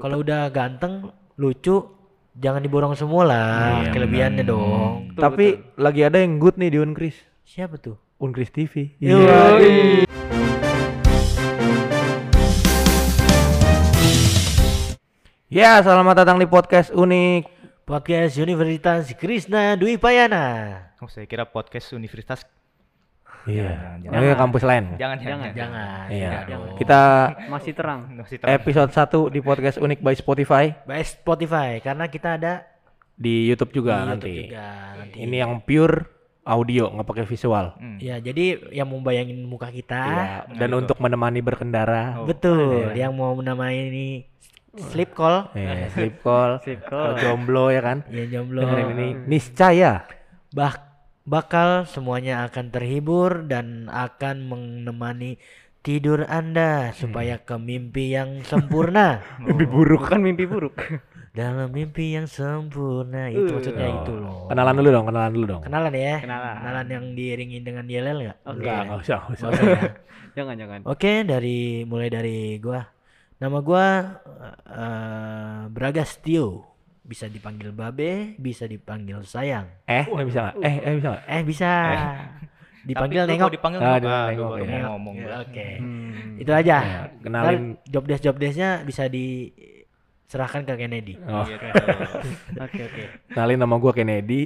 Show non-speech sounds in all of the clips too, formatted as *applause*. Kalau udah ganteng, lucu, jangan diborong semua lah Iya, kelebihannya dong. Tapi lagi ada yang good nih di Unkris. Siapa tuh? Unkris Iya. TV. Ya, selamat datang di podcast unik. Podcast Universitas Krishna Dwi Payana. Oh, saya kira podcast universitas. Iya. Jangan, Ini kampus lain. Jangan, jangan. Jangan. Iya. dong. Kita Masih terang. Masih terang. episode 1 di podcast unik by Spotify By Spotify karena kita ada di YouTube di juga nanti. YouTube juga nanti. Ini yang pure audio, nggak pakai visual. Hmm. Ya, jadi yang mau bayangin muka kita, Iya. Dan gitu. untuk menemani berkendara. Oh. betul. Yang mau menamai ini sleep call, Iya, sleep call. *laughs* Sip, Kalau kok. jomblo ya kan. ya jomblo. Dengerin ini niscaya Bak- bakal semuanya akan terhibur dan akan menemani tidur Anda supaya ke mimpi yang sempurna. lebih buruk. kan? Bukan mimpi buruk. Dalam mimpi yang sempurna itu Ya maksudnya itu loh. oh. Kenalan dulu dong, kenalan dulu dong. Kenalan ya. Kenalan. yang diiringi dengan yelel nggak? Oke. Enggak, enggak usah, nggak usah. Nggak usah ya? jangan jangan. Oke, dari mulai dari gua. Nama gua eh, Bragas Tio. Bisa dipanggil Babe, bisa dipanggil Sayang. Eh, nggak bisa nggak? Eh, eh bisa nggak? Eh bisa. Dipanggil Tapi lu nengok. kalau dipanggil Ah, nengok. dipanggil Ah, lu nengok, baru ya. mau ngomong. Iya. Ya, gua. Oke. Hmm. Itu aja. kenalin- Ntar job desk job desknya bisa diserahkan ke Kennedy. Oh, Gitu. *laughs* Oke oke. kenalin nama gua Kennedy.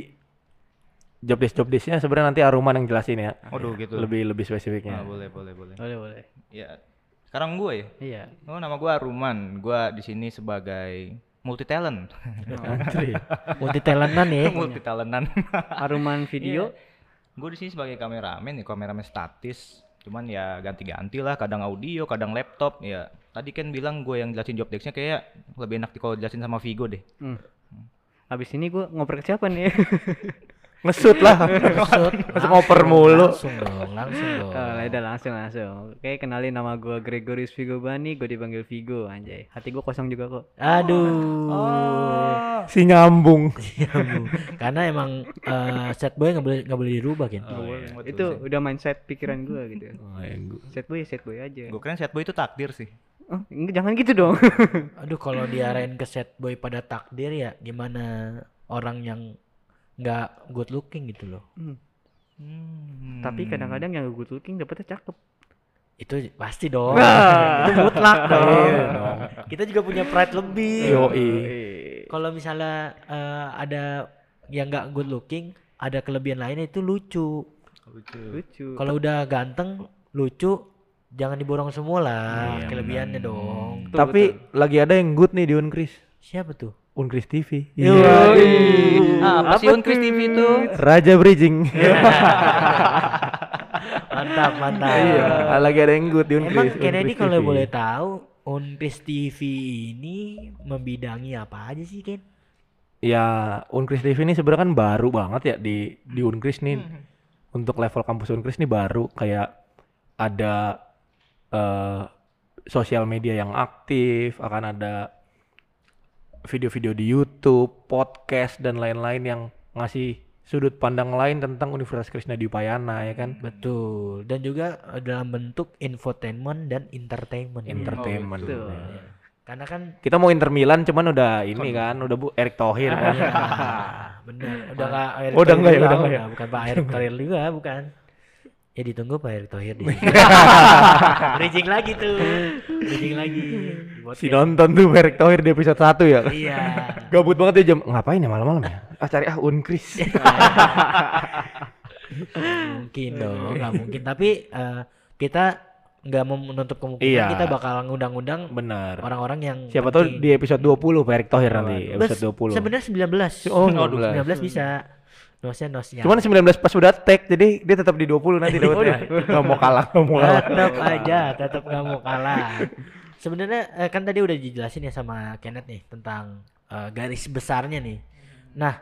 Job desk job desknya sebenarnya nanti Aruman yang jelasin ya. Aduh, gitu. Lebih iya. lebih Ah, spesifiknya. boleh, boleh, boleh. Boleh boleh. Ya. Sekarang gue ya. Iya. Oh, nama gue Aruman. Gue di sini sebagai multi talent. Antri. Multi talentan ya. multi talentan. Aruman Iya, video. gue Iya. di sini sebagai kameramen ya, kameramen statis. Cuman ya ganti-ganti lah, kadang audio, kadang laptop. Ya tadi kan bilang gue yang jelasin job desk-nya kayak lebih enak di- kalau jelasin sama Vigo deh. Hmm. Abis ini gue ngoper ke siapa nih? Ngesut lah. Maksud, Masuk ngoper mulu. Langsung dong, *laughs* langsung dong. Oh, udah langsung langsung. Oke, kenalin nama gue Gregorius Vigo Bani, gue dipanggil Vigo anjay. Hati gue kosong juga kok. Aduh. Oh. *laughs* Si nyambung. Iya, Bu. Karena emang eh, set boy nggak boleh nggak boleh dirubah Oh, kan. iya, Itu udah mindset pikiran gue gitu. *laughs* Oh, Set boy, set boy aja. Gue keren set boy itu takdir sih. Oh, enggak, jangan gitu dong. Aduh kalau diarahin ke set boy pada takdir ya gimana orang yang nggak good looking gitu loh. Hmm, Hmm. *laughs* Tapi kadang-kadang yang good looking dapetnya cakep. Itu pasti dong. Nah. Itu *laughs* mutlak Iya dong. Kita juga punya pride lebih. Yoi. Kalau misalnya eh, ada yang nggak good looking, ada kelebihan lainnya itu lucu. Lucu. Kalau udah ganteng, lucu, jangan diborong semua lah kelebihannya dong. Tapi lagi ada yang good nih di Unkris. Siapa tuh? Unkris TV. Ah, apa, sih Unkris TV itu? Raja Bridging. Mantap, mantap. Iya, lagi ada yang good di Unkris. Emang Kennedy Unkris kalau TV. boleh tahu Unkris TV ini membidangi apa aja sih Ken? ya Unkris TV ini sebenarnya kan baru banget ya di di Hmm. Unkris nih. Untuk level kampus Unkris nih baru kayak ada eh sosial media yang aktif, akan ada video-video di YouTube, podcast dan lain-lain yang ngasih sudut pandang lain tentang Universitas Krishna Dipayana ya kan. Betul. Dan juga eh, dalam bentuk infotainment dan entertainment. Entertainment. Oh, gitu. Ya. Karena kan Kita mau Inter Milan cuman udah ini kan, udah Bu Erick Thohir Ah, kan. ya, *laughs* bener udah nggak Erick Oh, udah Thohir nggak ya, juga, udah nggak ya. bukan Pak Erick Thohir juga bukan ya ditunggu Pak Erick Thohir di *laughs* sini. bridging lagi tuh bridging lagi Di podcast. Si nonton tuh Bu Erick Thohir di episode 1 ya. iya Gabut banget ya jam ngapain ya malam-malam ya? Ah cari ah Unkris. Nggak mungkin Iya. dong nggak mungkin tapi eh, kita nggak mau menutup kemungkinan Iya. kita bakal ngundang-undang Benar. orang-orang yang Siapa tahu di episode 20 Pak Erick Thohir nanti Bes, episode 20. sebenarnya 19 Oh, 19 bisa nosnya nosnya Cuman 19 pas udah tag jadi dia tetap di 20 nanti *laughs* dapatnya. Enggak mau kalah, enggak mau kalah. tetap aja tetap nggak mau kalah sebenarnya eh, kan tadi udah dijelasin ya sama Kenneth nih tentang eh, garis besarnya nih nah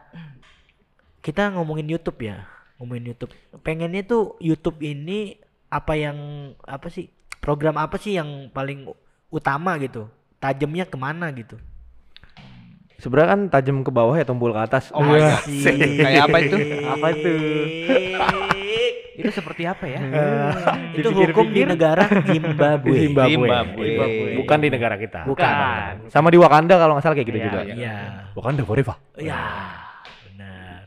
kita ngomongin YouTube ya ngomongin YouTube pengennya tuh YouTube ini apa yang apa sih program apa sih yang paling utama gitu tajamnya kemana gitu Sebenarnya kan tajam ke iya. bawah ya tumpul ke atas. Oh my God. Asik. Kayak apa itu? Apa itu? Itu seperti apa ya? Itu hukum di Dipikir-pikir. negara Zimbabwe. Eh, Zimbabwe. Zimbabwe. Zimbabwe. Bukan di negara kita. Bukan. Sama di Wakanda kalau nggak salah kayak gitu Iya, juga. Iya. Wakanda forever. Iya. Benar.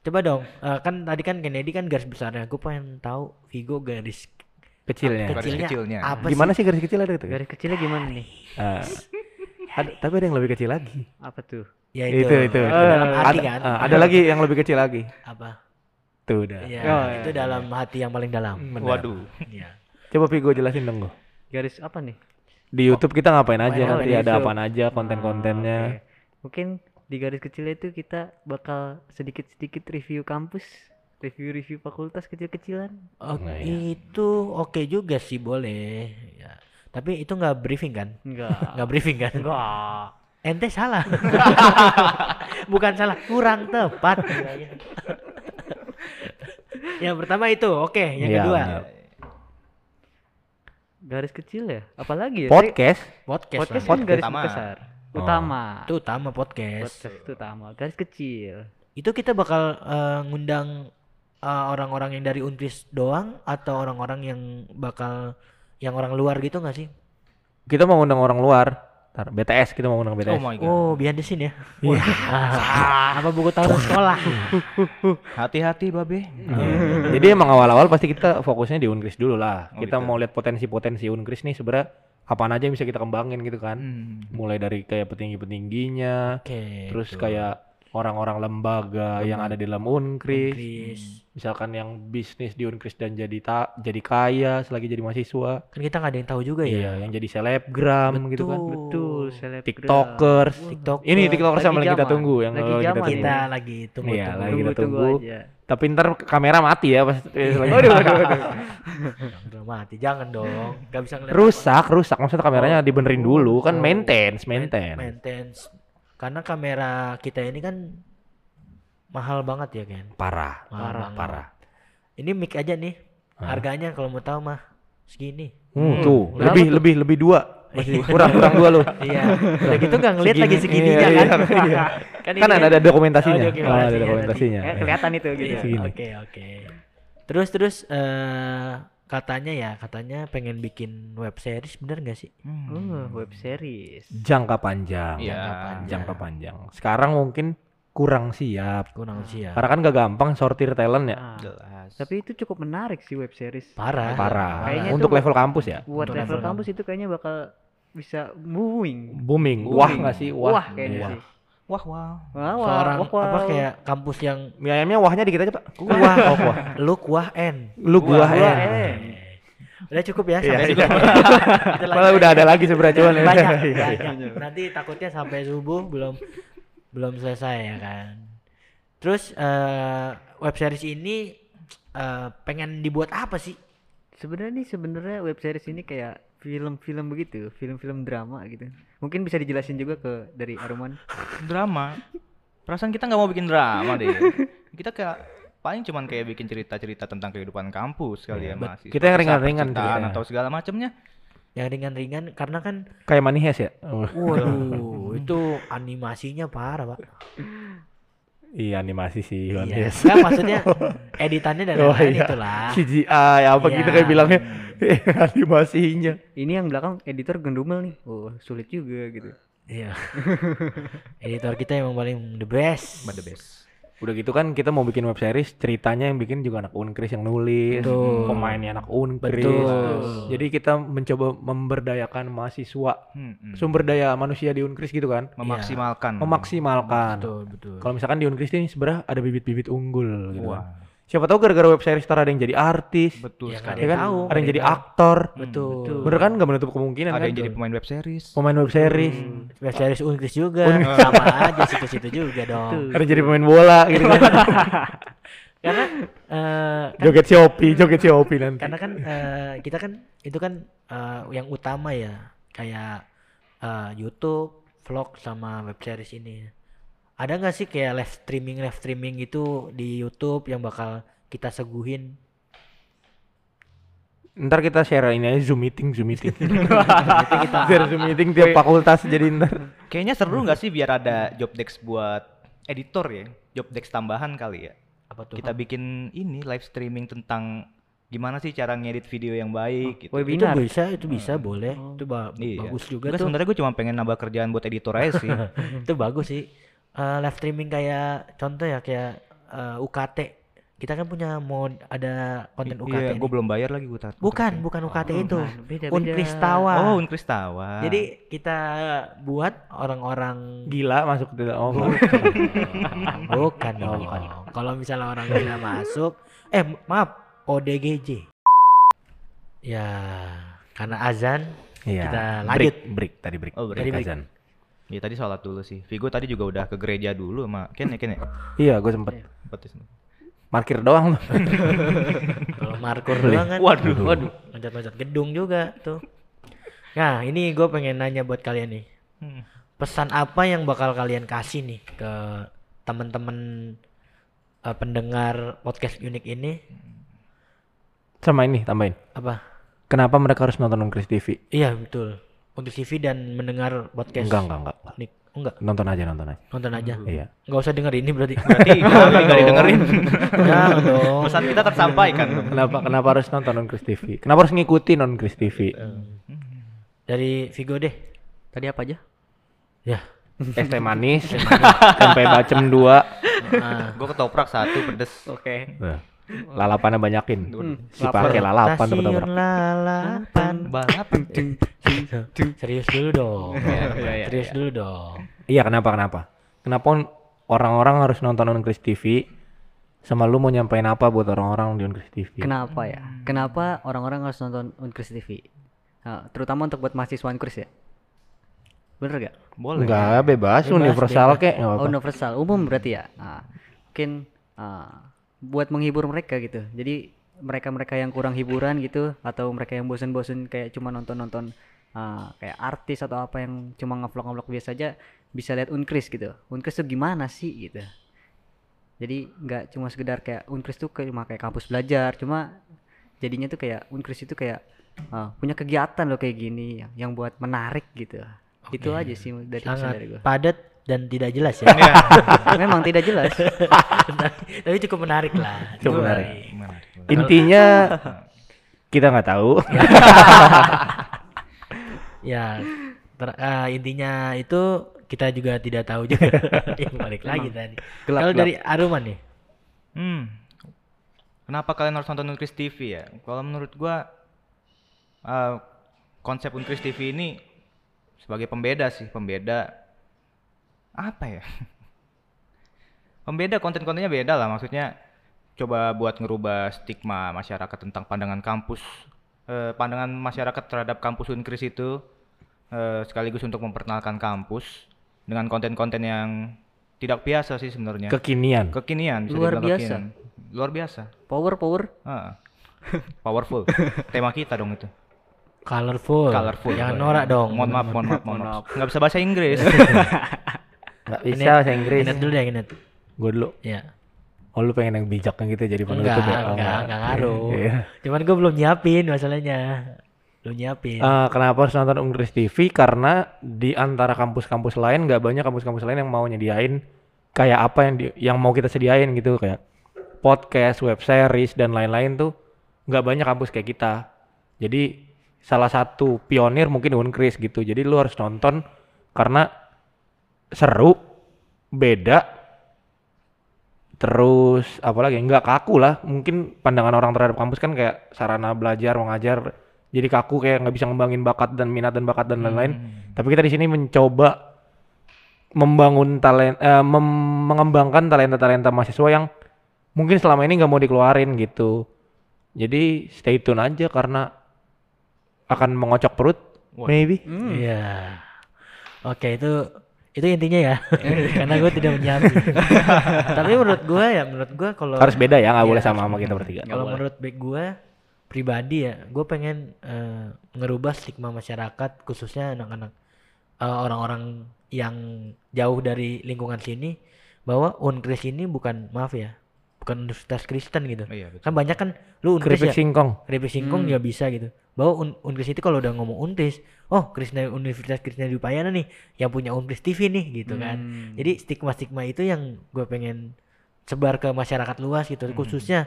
Coba dong, eh, kan tadi kan Kennedy kan garis besarnya. Gue pengen tahu Vigo garis Kecilnya. Garis kecilnya, kecilnya. apa Ya. Gimana sih garis kecil ada itu? Garis kecilnya gimana nih? Eh, ada, tapi ada yang lebih kecil lagi. Apa tuh? sih? Ya itu, Itu itu. dalam hati ada, kan? eh, ada lagi Ya. yang lebih kecil lagi. Apa? Tuh udah. Iya, Oh, itu iya, dalam hati yang paling dalam. Benar. Waduh. Iya. Coba Vigo jelasin dong Go. Garis apa nih? Di YouTube kita ngapain aja Ngapain nanti di ada YouTube? apaan aja konten-kontennya. Ah, oke. Mungkin di garis kecil itu kita bakal sedikit-sedikit review kampus, review-review fakultas kecil-kecilan. Oh, Nah, iya. itu oke juga sih boleh. Ya. Tapi itu nggak briefing kan? *laughs* Enggak. Nggak briefing kan? Enggak. Ente salah. *laughs* Bukan salah, kurang *laughs* tepat. yang pertama itu, oke. Yang Iya, kedua, benar. Garis kecil ya? Apalagi ya? Saya- Podcast. ya? podcast. podcast lah. kan garis utama. besar. Oh. Utama. Itu utama podcast. Podcast itu utama. Garis kecil. Itu kita bakal eh, ngundang eh, orang-orang yang dari Untris doang atau orang-orang yang bakal yang orang luar gitu nggak sih? Kita mau undang orang luar. Ntar, BTS kita mau undang BTS. Oh my god. Oh, behind the scene ya. Wah. Ah, apa buku taruh sekolah? Hati-hati babe. Hmm. Jadi emang awal-awal pasti kita fokusnya di Unkris dulu lah. Oh, kita gitu. mau lihat potensi-potensi Unkris nih sebenarnya apaan aja yang bisa kita kembangin gitu kan. Hmm. Mulai dari kayak petinggi-petingginya, Oke. terus tuh. kayak orang-orang lembaga yang ada di dalam Unkris, Untris. misalkan yang bisnis di Unkris dan jadi tak jadi kaya selagi jadi mahasiswa. Kan kita nggak ada yang tahu juga ya. Iya, yang jadi selebgram gitu kan. Betul, selebgram. TikTokers. TikTok. Ini TikToker Lagi sama yang kita zaman. tunggu yang eh, Lagi kita zaman tunggu. kita lagi tunggu Iya, lagi tunggu. kita Tunggu-tunggu tunggu. aja. Tapi ntar kamera mati ya pas lagi- *laughs* Udah mati, jangan dong. Gak bisa ngeliat. rusak rusak maksudnya kameranya dibenerin dulu kan maintenance apa- maintenance Maintenance. Karena kamera kita ini kan mahal banget ya Ken. parah Mahal banget. parah Ini mic aja nih. Hah? Harganya kalau mau tahu mah segini. Hmm, tuh Berapa lebih lebih lebih dua masih kurang kurang dua *laughs* lu iya. Udah gitu nggak ngeliat lagi Segini. segininya Iya, kan. iya. *laughs* kan kan ini ada ada Oh, dokumentasinya Oh, dokumentasinya ada nanti. dokumentasinya Kayak kelihatan itu gitu. Iya, Segini. Oke oke. Terus terus eh katanya ya katanya pengen bikin web series bener gak sih? Hmm. Oh, web series. jangka panjang Iya. Jangka panjang. jangka panjang sekarang mungkin kurang siap Kurang sih ya. karena kan gak gampang sortir talent ya Ah, Jelas. tapi itu cukup menarik sih web series. Parah. parah Kayaknya untuk tuh- level kampus ya Buat Untuk level level kampus itu kayaknya bakal bisa moving. booming Booming. wah nggak sih wah, Wah, kayaknya Wah. sih. Wah wah. Wah, wah, Seorang wah, wah. apa kayak kampus yang mie ayamnya wahnya dikit aja pak kuah oh, kuah. lu kuah *laughs* n. lu gua Wah, ya wah, eh. Udah cukup ya Iya, sampai *laughs* iya. subuh. Kita malah lanjut. udah ada lagi sebenarnya cuman ya. banyak, *laughs* Iya. banyak. Nanti takutnya sampai subuh belum belum selesai ya kan. Terus eh web series ini eh, pengen dibuat apa sih? Sebenarnya nih sebenarnya web series ini kayak film-film begitu, film-film drama gitu. Mungkin bisa dijelasin juga ke dari Arman. Drama. Perasaan kita nggak mau bikin drama deh. Kita kayak paling cuman kayak bikin cerita-cerita tentang kehidupan kampus kali ya Iya. masih. Kita yang ringan-ringan ceritanya. atau segala macamnya. Yang ringan-ringan karena kan kayak manihes ya Oh, waduh itu animasinya parah, Pak. iya animasi Iya. sih *laughs* manihes Nggak, maksudnya editannya dan Oh, lain-lain iya. itulah. CGI apa Iya. gitu kayak bilangnya *laughs* animasinya Ini yang belakang editor gendumel nih. Oh, sulit juga gitu. Iya. Editor kita emang paling the best. But the best. udah gitu kan kita mau bikin web series ceritanya yang bikin juga anak unkris yang nulis Betul. pemainnya anak unkris Betul. jadi kita mencoba memberdayakan mahasiswa Hmm, hmm. sumber daya manusia di unkris gitu kan Memaksimalkan. memaksimalkan Hmm. Betul, betul. kalau misalkan di unkris ini sebenarnya ada bibit-bibit unggul gitu kan. Wah, siapa tahu gara-gara web series ntar ada yang jadi artis betul Ya, sekali. ya Ada kan yang tahu, ada yang ada jadi yang tahu. aktor Hmm, betul. Betul. bener kan nggak menutup kemungkinan Ada kan yang jadi pemain web series. pemain web series Web series Unkris juga sama aja situ-situ juga dong. ada yang jadi pemain bola gitu *laughs* kan Karena eh, kan- joget Shopee joget Shopee nanti karena kan eh, kita kan itu kan eh, yang utama ya kayak eh, YouTube, vlog sama web series ini. Ada nggak sih kayak live streaming live streaming gitu di YouTube yang bakal kita seguhin? ntar kita share ini aja zoom meeting *laughs* zoom meeting Nanti kita share zoom meeting tiap fakultas jadi ntar Hmm. Kayaknya seru nggak sih biar ada job desk buat editor ya? Job desk tambahan kali ya? apa tuh Kita bikin ini live streaming tentang gimana sih cara ngedit video yang baik itu gitu. webinar bisa itu bisa boleh itu ba- Hmm. Iya. bagus juga Enggak tuh sebenarnya gue cuma pengen nambah kerjaan buat editor aja sih. itu bagus sih Eh, live streaming kayak contoh ya kayak eh, UKT kita kan punya mod ada *laughs* konten UKT Iya, nih. gue belum bayar lagi gue tar. bukan bukan UKT Oh, itu beda, Unkristawa Hmm. Oh, Unkristawa. jadi kita buat orang-orang Gila masuk ke dalam. Oh, bukan dong Iya. kalau misalnya orang gila masuk eh maaf ODGJ ya karena azan Iya. Kita Break, lanjut. Break, tadi break. Oh, break. Tadi break. azan. Ya tadi sholat dulu sih. Vigo tadi juga udah ke gereja dulu sama Ken ya Ken ya. Iya, gue sempet Betis. parkir doang. kalau markur doang kan Waduh, waduh. loncat-loncat gedung juga tuh nah ini gue pengen nanya buat kalian nih *laughs* Hmm. pesan apa yang bakal kalian kasih nih ke temen-temen eh, pendengar podcast unik ini Sama ini tambahin. apa Kenapa mereka harus nonton Unkris TV? iya betul untuk CV dan mendengar podcast Enggak, enggak, enggak. enggak. unik Oh, enggak Nonton aja, nonton aja. nonton aja Iya. nggak usah denger ini berarti Berarti enggak *laughs* didengerin. Jangan dong. Pesan kita tersampaikan. Kenapa kenapa harus nonton Unkris TV? Kenapa harus ngikutin Unkris TV? Dari Vigo deh. tadi apa aja Ya. Es teh manis, sampai bacem dua. Nah. gue ketoprak satu pedes. oke Nah, Lalapannya banyakin. Si lapar. pakai Hmm. lalapan Stasiun teman-teman. lalapan. Balap. Serius dulu dong. *laughs* Iya, Serius dulu dong. Iya kenapa kenapa? Kenapa on- orang-orang harus nonton Unkris TV? Sama lu mau nyampein apa buat orang-orang di Unkris TV? kenapa ya Hmm. kenapa orang-orang harus nonton Unkris TV Nah, terutama untuk buat mahasiswa Unkris ya bener gak Boleh. Enggak, ya? bebas, universal kek, nggak Oh, apa-apa. universal umum berarti ya Nah, mungkin ah, buat menghibur mereka gitu jadi mereka-mereka yang kurang hiburan gitu atau mereka yang bosen-bosen kayak cuma nonton-nonton ah, kayak artis atau apa yang cuma ngevlog-ngevlog biasa aja bisa lihat Unkris gitu Unkris tuh gimana sih gitu jadi nggak cuma sekedar kayak Unkris tuh kayak- cuma kayak kampus belajar cuma jadinya tuh kayak Unkris itu kayak ah, punya kegiatan loh kayak gini yang- yang buat menarik gitu itu aja sih dari pesan Sangat dari gua padat dan tidak jelas *laughs* ya. *laughs* memang tidak jelas Tapi cukup menarik lah. Cukup menarik. *laughs* Intinya kita nggak tahu. Ya. ter- eh, intinya itu kita juga tidak tahu *laughs* juga. Ya, balik lagi tadi. Gelap, Kalau gelap. dari Aruman nih. Hmm. Kenapa kalian harus nonton Unkris TV ya? Kalau menurut gua eh, konsep Unkris TV ini sebagai pembeda sih, pembeda apa ya? *laughs* pembeda konten-kontennya beda lah maksudnya coba buat ngerubah stigma masyarakat tentang pandangan kampus eh, pandangan masyarakat terhadap kampus Unkris itu eh, sekaligus untuk memperkenalkan kampus dengan konten-konten yang tidak biasa sih iya. sebenarnya Kekinian. kekinian bisa Luar dibilang biasa. kekinian. luar biasa power power Heeh. *laughs* powerful tema kita dong itu Colorful. colorful Jangan Oh, norak iya. dong. mohon maaf mohon maaf mohon maaf nggak bisa bahasa Inggris Nggak Ini- bisa bahasa Inggris. Inet dulu deh, Inet. Gue dulu. Ya. Oh lu pengen yang bijak kan gitu jadi penutup Enggak, ya? enggak, Oh, enggak, ngaruh. Iya. Cuman gue belum nyiapin masalahnya. Belum nyiapin. Eh, kenapa harus nonton Unggris TV? Karena di antara kampus-kampus lain nggak banyak kampus-kampus lain yang mau nyediain kayak apa yang di- yang mau kita sediain gitu kayak podcast, web series dan lain-lain tuh nggak banyak kampus kayak kita. Jadi salah satu pionir mungkin Unkris gitu. Jadi lu harus nonton karena seru, beda, Terus apalagi nggak kaku lah. Mungkin pandangan orang terhadap kampus kan kayak sarana belajar mengajar jadi kaku kayak nggak bisa ngembangin bakat dan minat dan bakat dan lain-lain. Tapi kita di sini mencoba membangun talent eh, mem- mengembangkan talenta-talenta mahasiswa yang mungkin selama ini nggak mau dikeluarin gitu. Jadi stay tune aja karena akan mengocok perut maybe. Hmm. Iya. Oke itu itu intinya ya. Karena gue tidak menyiapin. Tapi menurut gue ya, menurut gue kalau Harus beda ya, nggak boleh sama sama kita bertiga. kalau menurut baik gue pribadi ya, gue pengen eh, ngerubah stigma masyarakat khususnya anak-anak eh, orang-orang yang jauh dari lingkungan sini bahwa unkris ini bukan maaf ya, bukan universitas Kristen gitu. iya betul Kan banyak kan lu unkris ya. Keripik singkong. Keripik Hmm. singkong juga bisa gitu. Bahwa Un- Unkris itu kalau udah ngomong Unkris, oh Krishna Universitas Krishna Dipayana gitu kan. Hmm. Hmm. nih yang punya Unkris TV nih gitu kan. Jadi stigma-stigma itu yang gue pengen sebar ke masyarakat luas gitu Hmm. khususnya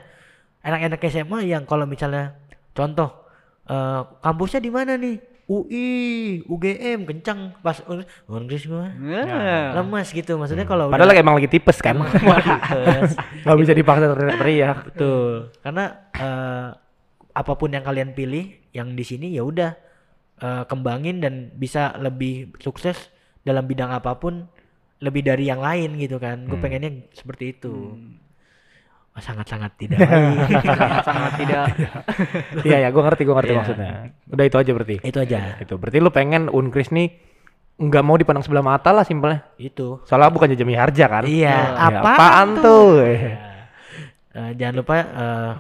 anak-anak SMA yang kalau misalnya contoh eh, kampusnya di mana nih UI UGM kencang pas un- Unggris gua lemas gitu maksudnya kalau Nah. Padahal *laughs* emang gitu. lagi tipes kan. lemas Gak bisa dipaksa Iya. teriak-teriak. Betul. Karena eh, apapun yang kalian pilih yang di sini ya udah eh, kembangin dan bisa lebih sukses dalam bidang apapun lebih dari yang lain gitu kan. Gue Hmm. pengennya seperti itu. Wah, Sangat-sangat tidak *laughs* baik. sangat tidak Iya ya, gue ngerti, gue ngerti Iya. maksudnya. Udah itu aja berarti. itu aja. Itu berarti lu pengen Unkris nih nggak mau dipandang sebelah mata lah simpelnya. Itu. Soalnya bukan jajami harja kan? Iya, Ya, apaan Iya. tuh? Eh, jangan lupa eh,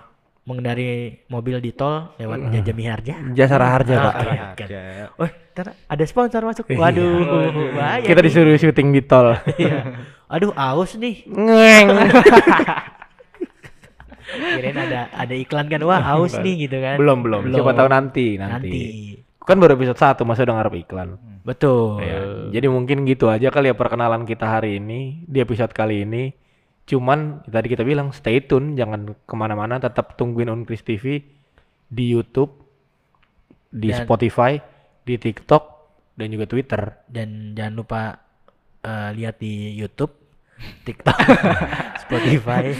mengendari mobil di tol Hmm. lewat Jajami Harja. Jasa harja pak. Harga. Oh, ntar ada sponsor masuk. Waduh, bahaya Iya. Kita nih. disuruh syuting di tol. Iya. Aduh, aus nih. Ngeng. kirain ada ada iklan kan wah haus nih gitu kan belum, belum Siapa tahu nanti, nanti. nanti Kan baru episode 1 masa udah ngarep iklan. betul Ya, jadi mungkin gitu aja kali ya perkenalan kita hari ini di episode kali ini. Cuman tadi kita bilang stay tune, jangan kemana-mana, tetap tungguin Unkris TV di YouTube, di Dan- Spotify, di TikTok, dan juga Twitter. dan jangan lupa eh, lihat di YouTube *laughs* TikTok Spotify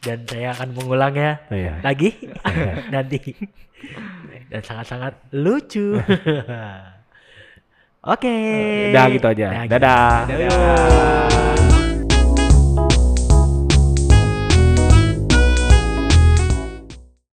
dan saya akan mengulangnya Iya. *laughs* lagi nanti dan sangat-sangat *laughs* lucu oke Udah gitu aja. Dadah. Dadah.